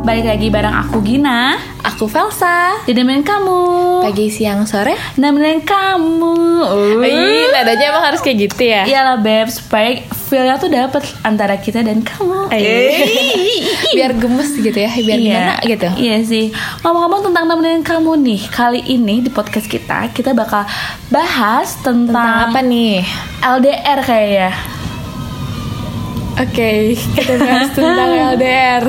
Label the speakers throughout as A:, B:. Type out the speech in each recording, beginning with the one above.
A: Balik lagi bareng aku Gina
B: Aku Velsa
A: Dedemen kamu
B: Pagi, siang, sore
A: Nemenin kamu Uh.
B: Ih, nadanya emang harus kayak gitu ya?
A: Iyalah Beb Supaya feelnya tuh dapet antara kita dan kamu
B: Eh. Biar gemes gitu ya, biar gimana gitu
A: Iya sih. Ngomong-ngomong tentang nemenin kamu nih, kali ini di podcast kita kita bakal bahas tentang,
B: Tentang apa nih?
A: LDR kayaknya.
B: Oke, kita bahas tentang LDR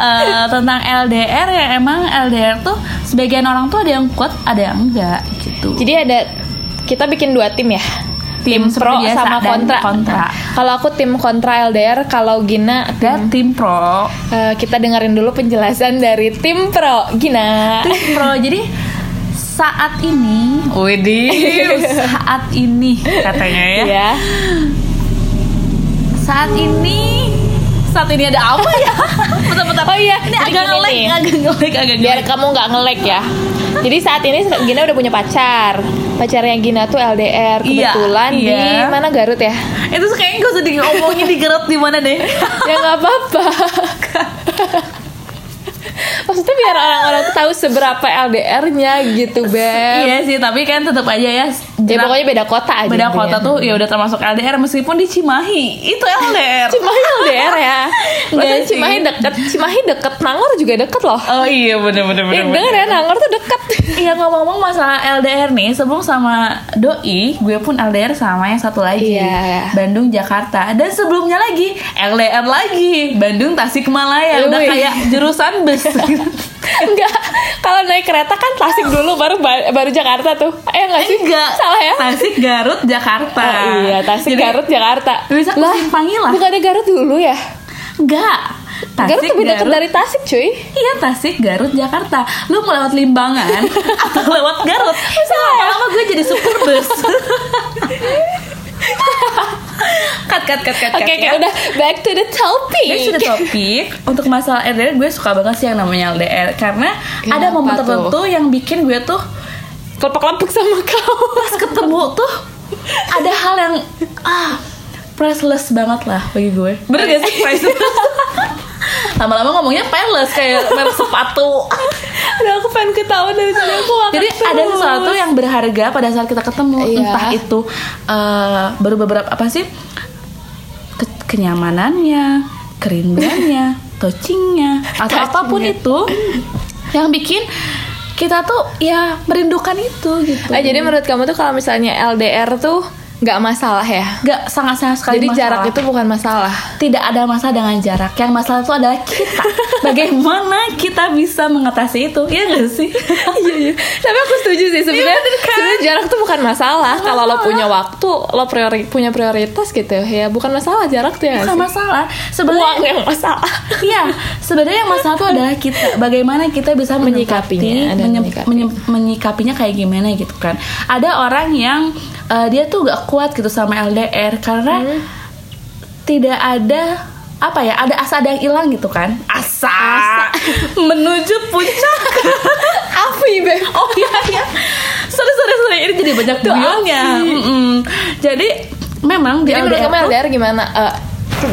A: Eh, tentang LDR ya emang LDR tuh sebagian orang tuh ada yang kuat, ada yang enggak gitu.
B: Jadi ada, kita bikin dua tim ya? Tim,
A: seperti
B: pro
A: biasa
B: sama
A: dan
B: kontra,
A: kontra.
B: Kalau aku tim kontra LDR, kalau Gina
A: Dan tim pro.
B: Eh, kita dengerin dulu penjelasan dari tim pro Gina.
A: Tim pro. Jadi saat ini, Widih, saat ini katanya ya.
B: Ya.
A: Saat ini saat ini ada apa ya? Bentar-bentar.
B: Oh iya,
A: ini
B: jadi
A: agak
B: gini
A: ngelag,
B: nih.
A: agak ngelag, agak ngelag.
B: Biar kamu nggak ngelek ya. Jadi saat ini Gina udah punya pacar. Pacarnya Gina tuh LDR
A: Iya,
B: kebetulan
A: iya.
B: di mana Garut ya?
A: itu tuh kayaknya gak usah diomongin digeret di mana deh
B: ya nggak apa-apa. Maksudnya biar orang-orang tahu seberapa LDR-nya gitu, Beb.
A: iya sih tapi kan tetap aja ya
B: Ya
A: jarak-
B: pokoknya beda kota aja.
A: beda
B: intinya.
A: kota tuh ya udah termasuk LDR meskipun di Cimahi itu LDR
B: Cimahi LDR ya.
A: Masa
B: Enggak,
A: sih?
B: Cimahi deket. Cimahi deket. Nangor juga deket loh.
A: oh iya bener bener
B: Eh,
A: bener, bener.
B: denger ya, Nangor tuh deket.
A: Iya ngomong-ngomong masalah LDR nih sebelum sama Doi gue pun LDR sama yang satu lagi
B: Iya.
A: Bandung Jakarta dan sebelumnya lagi LDR lagi Bandung Tasikmalaya udah
B: Wih.
A: kayak jurusan bus
B: Enggak, kalau naik kereta kan klasik dulu baru ba- baru Jakarta tuh. Eh enggak sih?
A: enggak
B: Salah ya?
A: Eh? Tasik Garut Jakarta
B: Oh, iya, Tasik
A: Jadi,
B: Garut Jakarta.
A: bisa
B: lah,
A: kesimpangi lah
B: bukannya Garut dulu ya?
A: Enggak.
B: Garut
A: Tasik
B: lebih dekat
A: Garut.
B: dari Tasik, cuy.
A: Iya Tasik Garut Jakarta. Lu mau lewat Limbangan atau lewat Garut? Bisa lama-lama gue jadi supir bus. cut cut cut cut.
B: Oke,
A: cut,
B: oke,
A: ya.
B: udah back to the topic.
A: Ini sudah topik untuk masalah LDR gue suka banget sih yang namanya LDR karena ada
B: Kenapa
A: momen
B: tuh?
A: tertentu yang bikin gue tuh
B: Kelepek-kelepek sama kau.
A: pas ketemu tuh ada hal yang ah priceless banget lah bagi gue. Bener gak sih priceless? Lama-lama ngomongnya priceless kayak merek sepatu.
B: Udah aku pengen ketawa dari sini aku makan
A: Jadi
B: terus.
A: ada sesuatu yang berharga pada saat kita ketemu
B: Iya.
A: entah itu eh, baru beberapa apa sih Ke- kenyamanannya, kerinduannya, touchingnya atau
B: Touchingnya.
A: apapun itu yang bikin kita tuh ya merindukan itu gitu.
B: Ah, jadi menurut kamu tuh kalau misalnya LDR tuh nggak masalah ya?
A: nggak sangat-sangat sekali
B: jadi
A: masalah.
B: jarak itu bukan masalah.
A: tidak ada masalah dengan jarak. Yang masalah itu adalah kita. Bagaimana kita bisa mengatasi itu? Iya gak sih?
B: iya iya tapi aku setuju sih sebenarnya sebenarnya jarak tuh bukan Iya, kan? masalah kalau lo punya waktu lo priori punya prioritas gitu ya bukan masalah jarak tuh
A: Bukan
B: ya nggak sih?
A: masalah. Sebenarnya
B: uang ya. yang masalah
A: Iya, sebenarnya yang masalah itu adalah kita bagaimana kita bisa menikapi,
B: Menyikapinya, ada
A: menye-
B: menyikapi.
A: menye- menyikapinya kayak gimana gitu kan. Ada orang yang eh, dia tuh gak kuat gitu sama LDR karena
B: Hmm.
A: tidak ada apa ya, ada asa ada yang hilang gitu kan. Asa, menuju puncak.
B: apa ya, ibe
A: oh iya iya. Sorry sorry sorry ini jadi banyak
B: Tuh,
A: bionya.
B: Afi.
A: Mm-mm. Jadi memang di
B: jadi menurut
A: LDR
B: kamu
A: tuh-
B: LDR gimana Eh,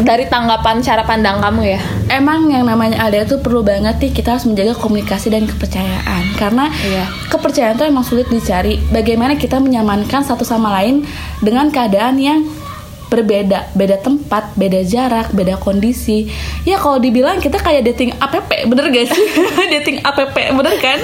B: dari tanggapan cara pandang kamu ya
A: Emang yang namanya LDR itu perlu banget nih kita harus menjaga komunikasi dan kepercayaan karena
B: Iya.
A: kepercayaan itu emang sulit dicari. Bagaimana kita menyamankan satu sama lain dengan keadaan yang berbeda, beda tempat, beda jarak, beda kondisi. Ya kalau dibilang kita kayak dating app, bener gak sih? dating app, bener kan?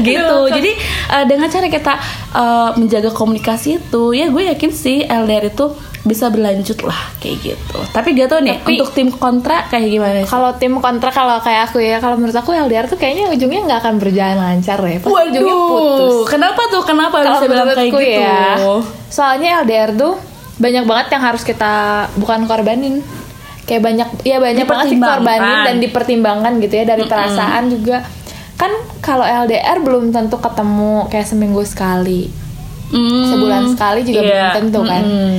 A: gitu. Jadi eh, dengan cara kita eh, menjaga komunikasi itu, ya gue yakin sih LDR itu bisa berlanjut lah kayak gitu. Tapi gak tau nih
B: Tapi-
A: untuk tim kontra kayak gimana sih?
B: kalau tim kontra kalau kayak aku ya kalau menurut aku LDR tuh kayaknya ujungnya nggak akan berjalan lancar ya pasti ujungnya putus
A: Waduh, kenapa tuh? Kenapa
B: kalau
A: bisa bilang kayak
B: menurutku
A: gitu?
B: ya soalnya LDR tuh banyak banget yang harus kita bukan korbanin kayak banyak ya banyak banget sih
A: Dipertimbangkan.
B: korbanin dan dipertimbangkan gitu ya dari perasaan juga kan kalau LDR belum tentu ketemu kayak seminggu sekali
A: Hmm,
B: sebulan sekali juga
A: iya.
B: belum tentu kan
A: Mm-mm.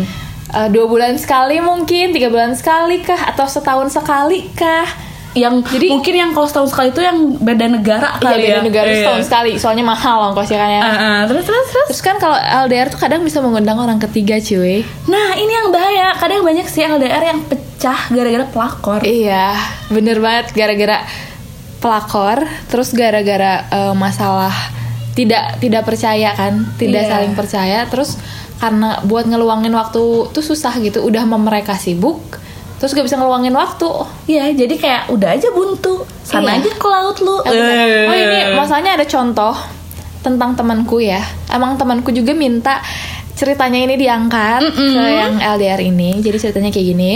B: Eh, dua bulan sekali mungkin tiga bulan sekali kah atau setahun sekali kah
A: yang
B: Jadi-
A: mungkin yang kalau setahun sekali itu yang beda negara
B: Iya
A: kali ya.
B: beda negara
A: Iya.
B: setahun sekali Soalnya mahal ongkosnya kan ya
A: Ah, ah, terus terus terus.
B: Terus kan kalau LDR tuh kadang bisa mengundang orang ketiga cuy
A: Nah, ini yang bahaya. Kadang banyak sih LDR yang pecah gara-gara pelakor.
B: Iya bener banget gara-gara pelakor Terus gara-gara eh, masalah tidak tidak percaya kan Tidak
A: Iya.
B: saling percaya Terus karena buat ngeluangin waktu tuh susah gitu Udah sama mereka sibuk Terus gak bisa ngeluangin waktu
A: Iya, jadi kayak udah aja buntu. Sana
B: Iya.
A: aja ke laut lu. Eh.
B: Oh ini masalahnya ada contoh tentang temanku ya. Emang temanku juga minta ceritanya ini diangkat ke yang LDR ini. Jadi ceritanya kayak gini.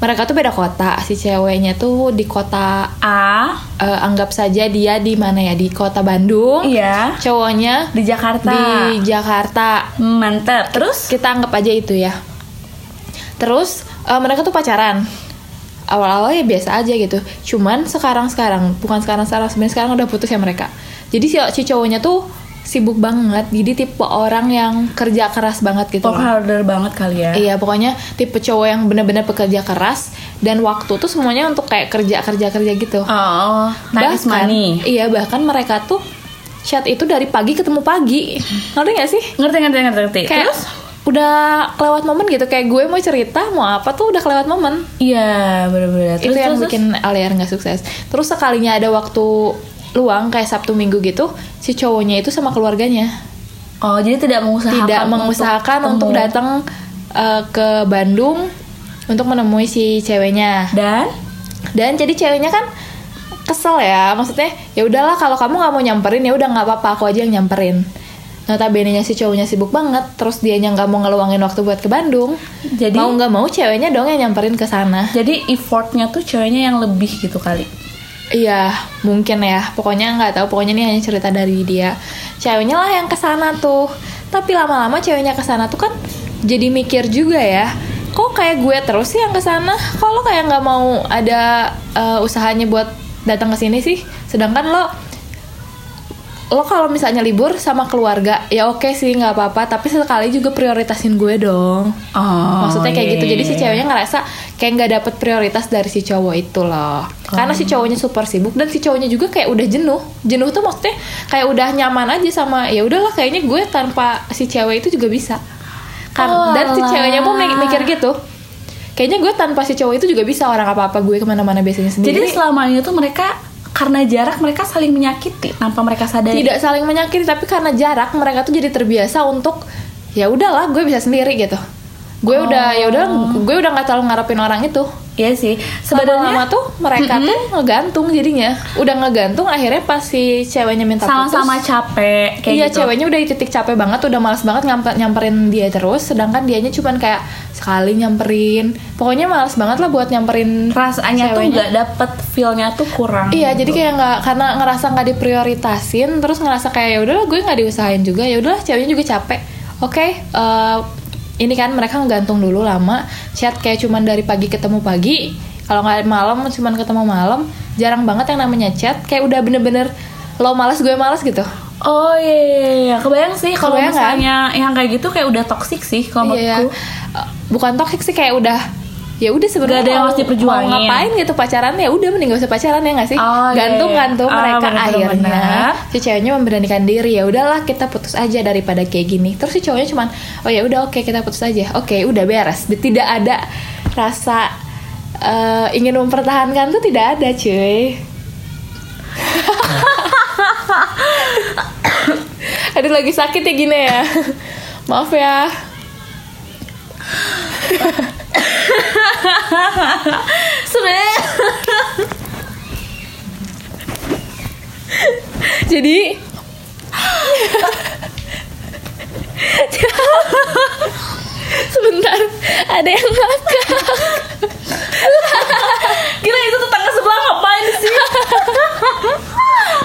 B: Mereka tuh beda kota. Si ceweknya tuh di kota
A: A,
B: eh, anggap saja dia di mana ya? Di kota Bandung.
A: iya.
B: Cowoknya
A: Di Jakarta.
B: di Jakarta.
A: Mantap. Terus?
B: Kita anggap aja itu ya. Terus eh, mereka tuh pacaran. Awal-awal ya biasa aja gitu. Cuman sekarang-sekarang, bukan sekarang-sekarang, sebenarnya sekarang udah putus ya mereka. Jadi si, si cowoknya tuh sibuk banget. Jadi tipe orang yang kerja keras banget gitu.
A: Pokok
B: loh.
A: harder banget kali ya.
B: Iya, pokoknya tipe cowok yang bener-bener pekerja keras dan waktu tuh semuanya untuk kayak kerja-kerja-kerja gitu.
A: Oh, nice money.
B: Iya, bahkan mereka tuh chat itu dari pagi ketemu pagi. Ngerti gak sih?
A: Ngerti, ngerti, ngerti, ngerti.
B: kayak
A: Iya. Terus?
B: udah kelewat momen gitu kayak gue mau cerita mau apa tuh udah kelewat momen
A: Iya, bener-bener. Terus,
B: itu yang
A: terus,
B: bikin LDR nggak sukses terus sekalinya ada waktu luang kayak Sabtu Minggu gitu si cowoknya itu sama keluarganya
A: terus. Oh, jadi tidak mengusahakan.
B: tidak
A: untuk
B: mengusahakan untuk,
A: ketemu.
B: datang eh, ke Bandung untuk menemui si ceweknya
A: Dan?
B: dan jadi ceweknya kan kesel ya maksudnya ya udahlah kalau kamu nggak mau nyamperin ya udah nggak apa-apa aku aja yang nyamperin notabene nya si cowoknya sibuk banget terus dianya nggak mau ngeluangin waktu buat ke Bandung
A: Jadi-
B: mau nggak mau ceweknya dong yang nyamperin ke sana
A: Jadi effortnya tuh ceweknya yang lebih gitu kali.
B: iya mungkin ya pokoknya nggak tahu pokoknya ini hanya cerita dari dia ceweknya lah yang ke sana tuh tapi lama-lama ceweknya ke sana tuh kan jadi mikir juga ya kok kayak gue terus sih yang ke sana kalau kayak nggak mau ada eh, usahanya buat datang ke sini sih sedangkan lo lo kalau misalnya libur sama keluarga ya oke sih nggak apa-apa tapi sekali juga prioritasin gue dong
A: Oh,
B: maksudnya kayak
A: iya,
B: gitu jadi si
A: iya, iya.
B: ceweknya ngerasa kayak nggak dapet prioritas dari si cowok itu loh
A: Oh.
B: karena si cowoknya super sibuk dan si cowoknya juga kayak udah jenuh jenuh tuh maksudnya kayak udah nyaman aja sama ya udahlah kayaknya gue tanpa si cewek itu juga bisa
A: Oh,
B: Kar- dan si
A: alah.
B: ceweknya pun mi- mikir gitu kayaknya gue tanpa si cowok itu juga bisa orang apa apa gue kemana-mana biasanya
A: Jadi
B: sendiri
A: selama ini tuh mereka karena jarak mereka saling menyakiti tanpa mereka sadari.
B: tidak saling menyakiti tapi karena jarak mereka tuh jadi terbiasa untuk ya udahlah gue bisa sendiri gitu gue
A: Oh.
B: udah ya udah gue udah nggak terlalu ngarepin orang itu
A: Iya sih. Sebenarnya
B: lama-lama tuh mereka tuh ngegantung jadinya udah ngegantung akhirnya pas si ceweknya minta
A: sama-sama
B: putus
A: capek kayak
B: iya
A: gitu.
B: ceweknya udah di titik capek banget udah males banget nyamper nyamperin dia terus sedangkan dianya cuman kayak sekali nyamperin pokoknya males banget lah buat nyamperin
A: Rasanya tuh
B: ceweknya.
A: nggak dapet feelnya tuh kurang.
B: Iya,
A: gitu.
B: jadi kayak nggak karena ngerasa nggak diprioritasin, terus ngerasa kayak ya udahlah gue nggak diusahain juga, ya udahlah ceweknya juga capek. Oke, eh, ini kan mereka ngegantung dulu lama, chat kayak cuman dari pagi ketemu pagi, kalau nggak malam cuman ketemu malam, jarang banget yang namanya chat, kayak udah bener-bener lo malas gue malas gitu.
A: Oh iya, iya, iya. kebayang sih kalau
B: Kebayang kan?
A: misalnya yang kayak gitu kayak udah toksik sih kalau
B: Iya,
A: menurutku.
B: eh, bukan toxic sih kayak udah ya udah sebenarnya
A: Nggak ada yang
B: mau-
A: harus diperjuangin.
B: mau ngapain gitu pacaran ya udah mending gak usah pacaran ya nggak sih
A: Oh, iya,
B: gantung gantung
A: iya. Ah,
B: mereka
A: benar-benar,
B: akhirnya
A: benar.
B: si ceweknya memberanikan diri ya udahlah kita putus aja daripada kayak gini terus si cowoknya cuman oh ya udah oke kita putus aja oke udah beres Dia tidak ada rasa eh, ingin mempertahankan tuh tidak ada cuy aduh lagi sakit ya gini ya maaf ya
A: Sebenarnya
B: jadi sebentar ada yang ngakak
A: gila itu tetangga sebelah ngapain sih?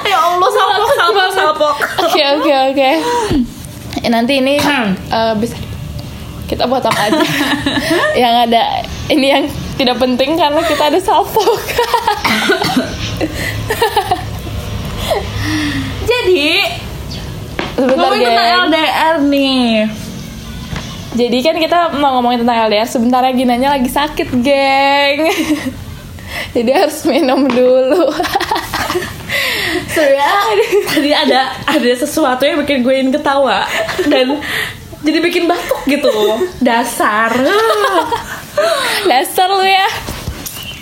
A: ya Allah salpok salpok salpok.
B: oke oke oke Eh, nanti ini
A: Hmm.
B: eh, bisa kita potong aja yang ada ini yang tidak penting karena kita ada kan? salpok
A: Jadi
B: sebentar
A: ngomongin tentang
B: guys
A: LDR nih.
B: jadi kan kita mau ngomongin tentang LDR sebentar ya Ginanya lagi sakit geng Jadi harus minum dulu.
A: Sebenernya tadi ada ada sesuatu yang bikin gue ingin ketawa dan jadi bikin batuk gitu. Dasar.
B: Dasar lu ya.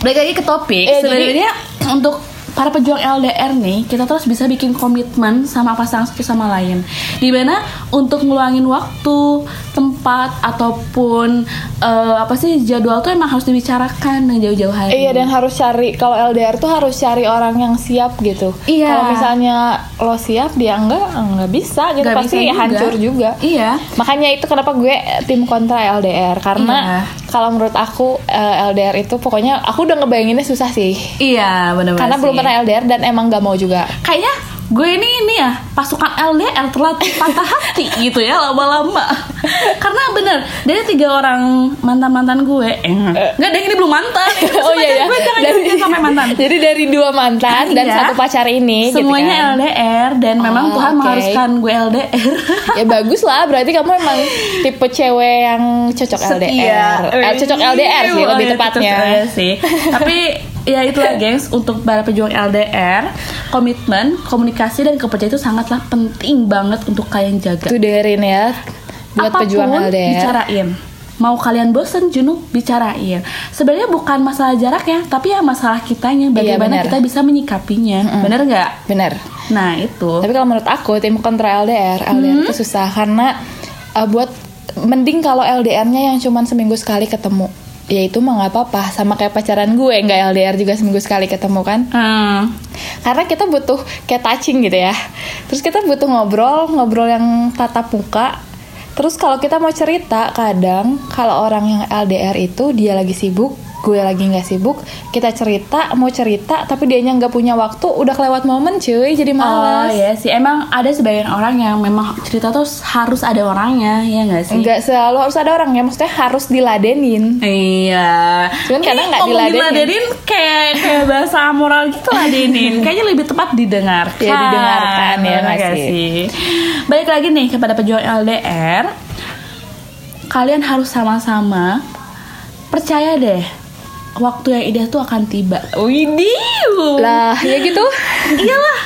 A: Balik lagi ke topik.
B: Eh, jadi-
A: Sebenarnya untuk para pejuang LDR nih, kita terus bisa bikin komitmen sama pasangan satu sama lain. Dimana untuk ngeluangin waktu, tempat ataupun eh, apa sih jadwal tuh emang harus dibicarakan dengan jauh-jauh hari.
B: Iya dan harus cari kalau LDR tuh harus cari orang yang siap gitu.
A: Iya.
B: Kalau misalnya lo siap dia enggak enggak bisa gitu
A: Nggak
B: pasti
A: bisa juga.
B: hancur juga.
A: Iya.
B: Makanya itu kenapa gue tim kontra
A: Iya.
B: LDR karena kalau menurut aku eh, LDR itu pokoknya aku udah ngebayanginnya susah sih.
A: Iya, benar-benar.
B: Karena belum
A: sih.
B: pernah LDR dan emang gak mau juga.
A: kayaknya gue ini ini ya pasukan LDR terlatih patah hati gitu ya lama-lama karena bener dari tiga orang mantan mantan gue eh, nggak ada yang ini belum mantan
B: Oh iya ya.
A: gue jangan
B: Dari-
A: jadikan sampai mantan
B: Jadi dari dua mantan dan
A: Iya.
B: satu pacar ini
A: semuanya
B: gitu kan.
A: LDR dan memang
B: Oh,
A: Tuhan
B: oke.
A: mengharuskan gue LDR
B: Ya bagus lah, berarti kamu emang tipe cewek yang cocok LDR. Eh, cocok LDR sih
A: Iya,
B: lebih
A: cocok
B: tepatnya.
A: LDR sih. Tapi ya itulah gengs untuk para pejuang LDR, komitmen, komunikasi dan kepercayaan itu sangatlah penting banget untuk kalian jaga.
B: Itu dengerin ya buat
A: Apapun
B: pejuang LDR.
A: bicarain mau kalian bosen jenuh bicarain sebenarnya bukan masalah jaraknya tapi ya masalah kitanya bagaimana
B: Iya, benar.
A: kita bisa menyikapinya bener nggak
B: Bener.
A: nah itu
B: Tapi kalau menurut aku tim kontra LDR,
A: Hmm?
B: LDR itu susah karena eh, buat mending kalau LDR-nya yang cuman seminggu sekali ketemu. Ya itu mah nggak apa-apa sama kayak pacaran gue nggak LDR juga seminggu sekali ketemu kan
A: hmm.
B: karena kita butuh kayak touching gitu ya terus kita butuh ngobrol ngobrol yang tatap muka terus kalau kita mau cerita kadang kalau orang yang LDR itu dia lagi sibuk gue lagi nggak sibuk kita cerita mau cerita tapi dianya nggak punya waktu udah kelewat momen cuy jadi
A: Oh
B: males
A: ya sih, emang ada sebagian orang yang memang cerita tuh harus ada orangnya, ya nggak sih?
B: nggak selalu harus ada orang ya maksudnya harus diladenin
A: Iya.
B: Cuman kadang
A: Ini
B: nggak
A: ngomong
B: diladenin.
A: kayak kayak bahasa amoral gitu ladenin. Kayaknya lebih tepat didengarkan.
B: Ya, didengarkan, ya
A: Bener
B: nggak
A: nggak
B: sih?
A: Balik lagi nih kepada pejuang LDR. Kalian harus sama-sama percaya deh. Waktu yang ideal tuh akan tiba. Widih.
B: lah ya gitu
A: Iyalah.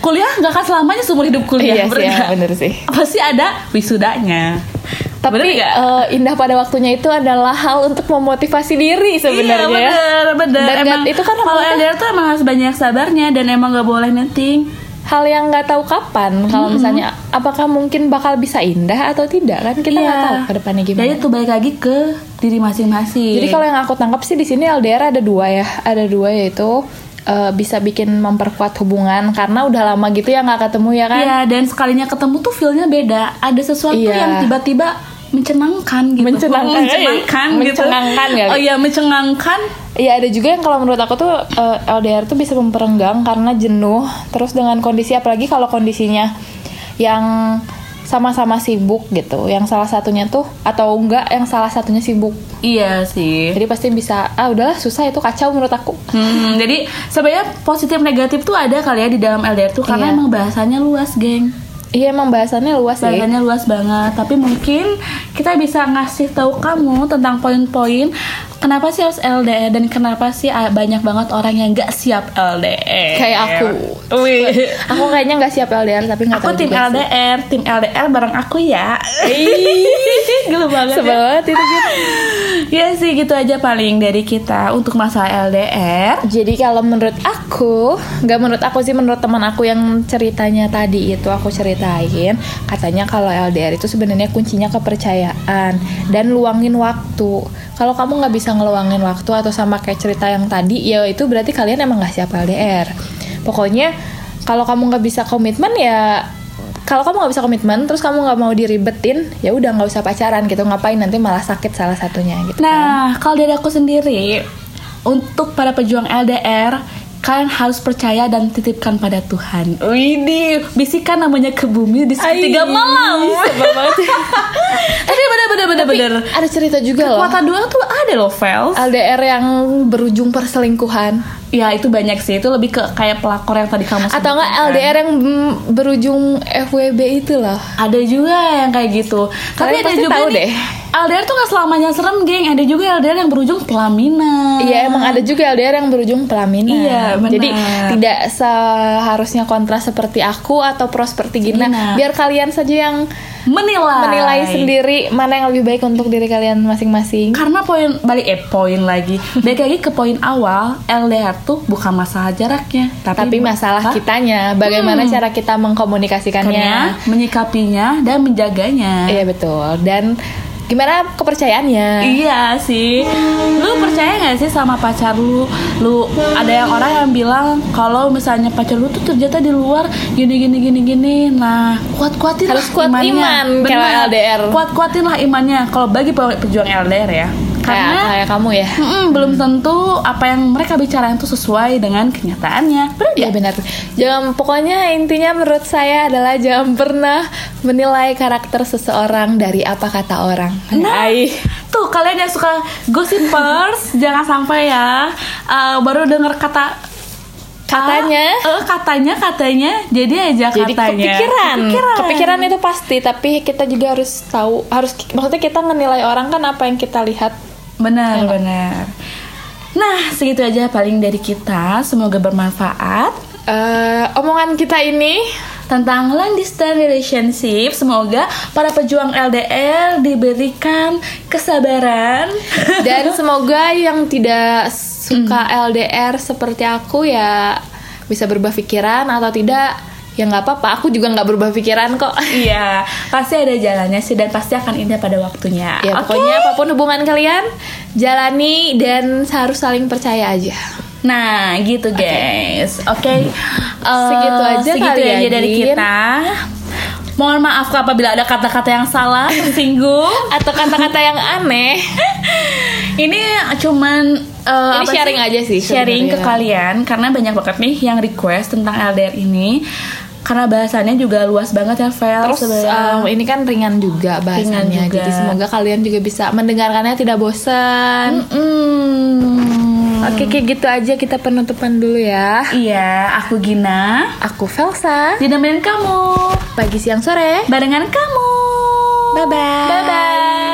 A: Kuliah nggak akan selamanya seumur hidup kuliah.
B: iya
A: bener
B: sih ya,
A: nggak?
B: bener sih
A: Pasti ada wisudanya. Bener
B: tapi
A: nggak?
B: eh, indah pada waktunya itu adalah hal untuk memotivasi diri sebenarnya ya.
A: Iya bener, bener.
B: Dan
A: Emang
B: nggak- itu kan
A: kalau
B: apa-
A: LDR tuh emang harus banyak sabarnya dan emang gak boleh netting.
B: hal yang nggak tahu kapan kalau misalnya apakah mungkin bakal bisa indah atau tidak kan kita nggak
A: Iya.
B: tahu ke depannya gimana
A: Jadi
B: jadi,
A: tuh balik lagi ke diri masing-masing.
B: kalau yang aku tangkap sih di sini LDR ada dua ya ada dua yaitu eh, bisa bikin memperkuat hubungan karena udah lama gitu ya nggak ketemu ya kan
A: Iya, dan sekalinya ketemu tuh feelnya beda. Ada sesuatu
B: Iya.
A: yang tiba-tiba mencenangkan gitu.
B: Mencenangkan, eh.
A: mencenangkan, gitu.
B: Mencengangkan kali.
A: Oh iya, mencengangkan.
B: Iya ada juga yang kalau menurut aku tuh eh, LDR tuh bisa memperenggang karena jenuh terus dengan kondisi apalagi kalau kondisinya yang sama-sama sibuk gitu, yang salah satunya tuh atau enggak yang salah satunya sibuk.
A: Iya sih.
B: Jadi pasti bisa ah udahlah susah itu kacau menurut aku.
A: Hmm, jadi sebenarnya positif negatif tuh ada kali ya di dalam LDR tuh karena
B: Iya.
A: emang bahasanya luas, geng.
B: Iya emang bahasannya luas sih.
A: Bahasannya luas banget, tapi mungkin kita bisa ngasih tahu kamu tentang poin-poin kenapa sih harus LDR dan kenapa sih ah, banyak banget orang yang nggak siap LDR.
B: Kayak aku.
A: Wih.
B: Aku kayaknya nggak siap LDR tapi nggak
A: Aku
B: tahu
A: tim
B: juga sih.
A: LDR, tim LDR bareng aku ya. Gila banget.
B: Sebel
A: Ya.
B: banget itu Gin.
A: Ya sih gitu aja paling dari kita untuk masalah LDR.
B: Jadi kalau menurut aku, nggak menurut aku sih menurut teman aku yang ceritanya tadi itu aku ceritain, katanya kalau LDR itu sebenarnya kuncinya kepercayaan dan luangin waktu. Kalau kamu nggak bisa ngeluangin waktu atau sama kayak cerita yang tadi, ya itu berarti kalian emang nggak siap LDR. Pokoknya kalau kamu nggak bisa komitmen ya kalau kamu nggak bisa komitmen, terus kamu nggak mau diribetin, ya udah nggak usah pacaran gitu. Ngapain nanti malah sakit salah satunya gitu.
A: Nah, kalau dari aku sendiri, untuk para pejuang LDR, kalian harus percaya dan titipkan pada Tuhan. Widih, bisikan namanya ke bumi di
B: Tiga
A: segitiga malam. Tapi bener bener bener bener.
B: Ada cerita juga loh.
A: Kuota dua tuh ada loh, Vels.
B: LDR yang berujung perselingkuhan.
A: ya itu banyak sih itu lebih ke kayak pelakor yang tadi kamu
B: atau enggak
A: sebutkan.
B: LDR yang mm, berujung FWB itu loh
A: ada juga yang kayak gitu tapi
B: Kalian
A: ada
B: pasti
A: juga
B: tahu
A: nih,
B: deh.
A: LDR tuh gak selamanya serem geng ada juga LDR yang berujung pelaminan
B: Iya emang ada juga LDR yang berujung pelaminan.
A: Hmm. Iya, benar.
B: Jadi tidak seharusnya kontra seperti aku atau pros seperti Gina.
A: Gina.
B: Biar kalian saja yang
A: menilai
B: menilai sendiri mana yang lebih baik untuk diri kalian masing-masing.
A: karena poin balik eh poin lagi balik lagi ke poin awal LDR tuh bukan masalah jaraknya tapi, Hmm.
B: Tapi masalah kitanya, bagaimana cara kita mengkomunikasikannya.
A: Karena menyikapinya dan menjaganya
B: Iya betul. Dan gimana kepercayaannya?
A: Iya sih. Lu percaya nggak sih sama pacar lu? Lu ada yang orang yang bilang kalau misalnya pacar lu tuh ternyata di luar gini gini gini gini. Nah, kuat-kuatin
B: Harus
A: lah
B: kuat
A: imannya.
B: iman kalau
A: Bener.
B: LDR.
A: Kuat-kuatin lah imannya kalau bagi pe- pejuang LDR ya.
B: Kayak,
A: Karena
B: kayak kamu ya.
A: mm-mm, belum tentu apa yang mereka bicarain tuh sesuai dengan kenyataannya. Bener
B: Iya
A: nggak?
B: benar. Jangan pokoknya intinya menurut saya adalah jangan pernah menilai karakter seseorang dari apa kata orang.
A: Nah,
B: Ai.
A: tuh kalian yang suka gossipers jangan sampai ya eh, baru dengar kata
B: Katanya.
A: Ah, eh, katanya katanya jadi aja
B: Jadi
A: katanya
B: kepikiran. kepikiran, itu pasti. Tapi kita juga harus tahu, harus maksudnya kita menilai orang kan apa yang kita lihat.
A: benar
B: Iya.
A: benar nah segitu aja paling dari kita semoga bermanfaat
B: Eh, omongan kita ini
A: tentang long distance relationship semoga para pejuang LDR diberikan kesabaran
B: dan semoga yang tidak suka LDR seperti aku ya bisa berubah pikiran atau tidak ya nggak apa-apa. Aku juga nggak berubah pikiran kok.
A: Iya, pasti ada jalannya sih dan pasti akan indah pada waktunya.
B: Ya
A: Ah, Oke.
B: pokoknya apapun hubungan kalian jalani dan harus saling percaya aja.
A: Nah, gitu guys. Oke. Eh,
B: Segitu aja
A: segitu
B: kali ya,
A: aja dari
B: Gin.
A: kita. Mohon maaf apabila ada kata-kata yang salah, tersinggung.
B: Atau kata-kata yang aneh.
A: Ini cuman eh,
B: Ini
A: apa
B: sharing aja sih
A: Sharing ke
B: sebenarnya.
A: kalian karena banyak banget nih yang request tentang LDR ini. Karena bahasannya juga luas banget ya, Vel.
B: Terus
A: sebenarnya.
B: um, ini kan ringan juga bahasannya.
A: Ringan juga.
B: Jadi semoga kalian juga bisa mendengarkannya tidak bosan.
A: Mm-mm.
B: Oke kayak gitu aja kita penutupan dulu ya.
A: Iya, aku Gina.
B: Aku Velsa.
A: Dinemenin kamu
B: Pagi siang sore.
A: barengan kamu.
B: Bye bye.
A: Bye bye.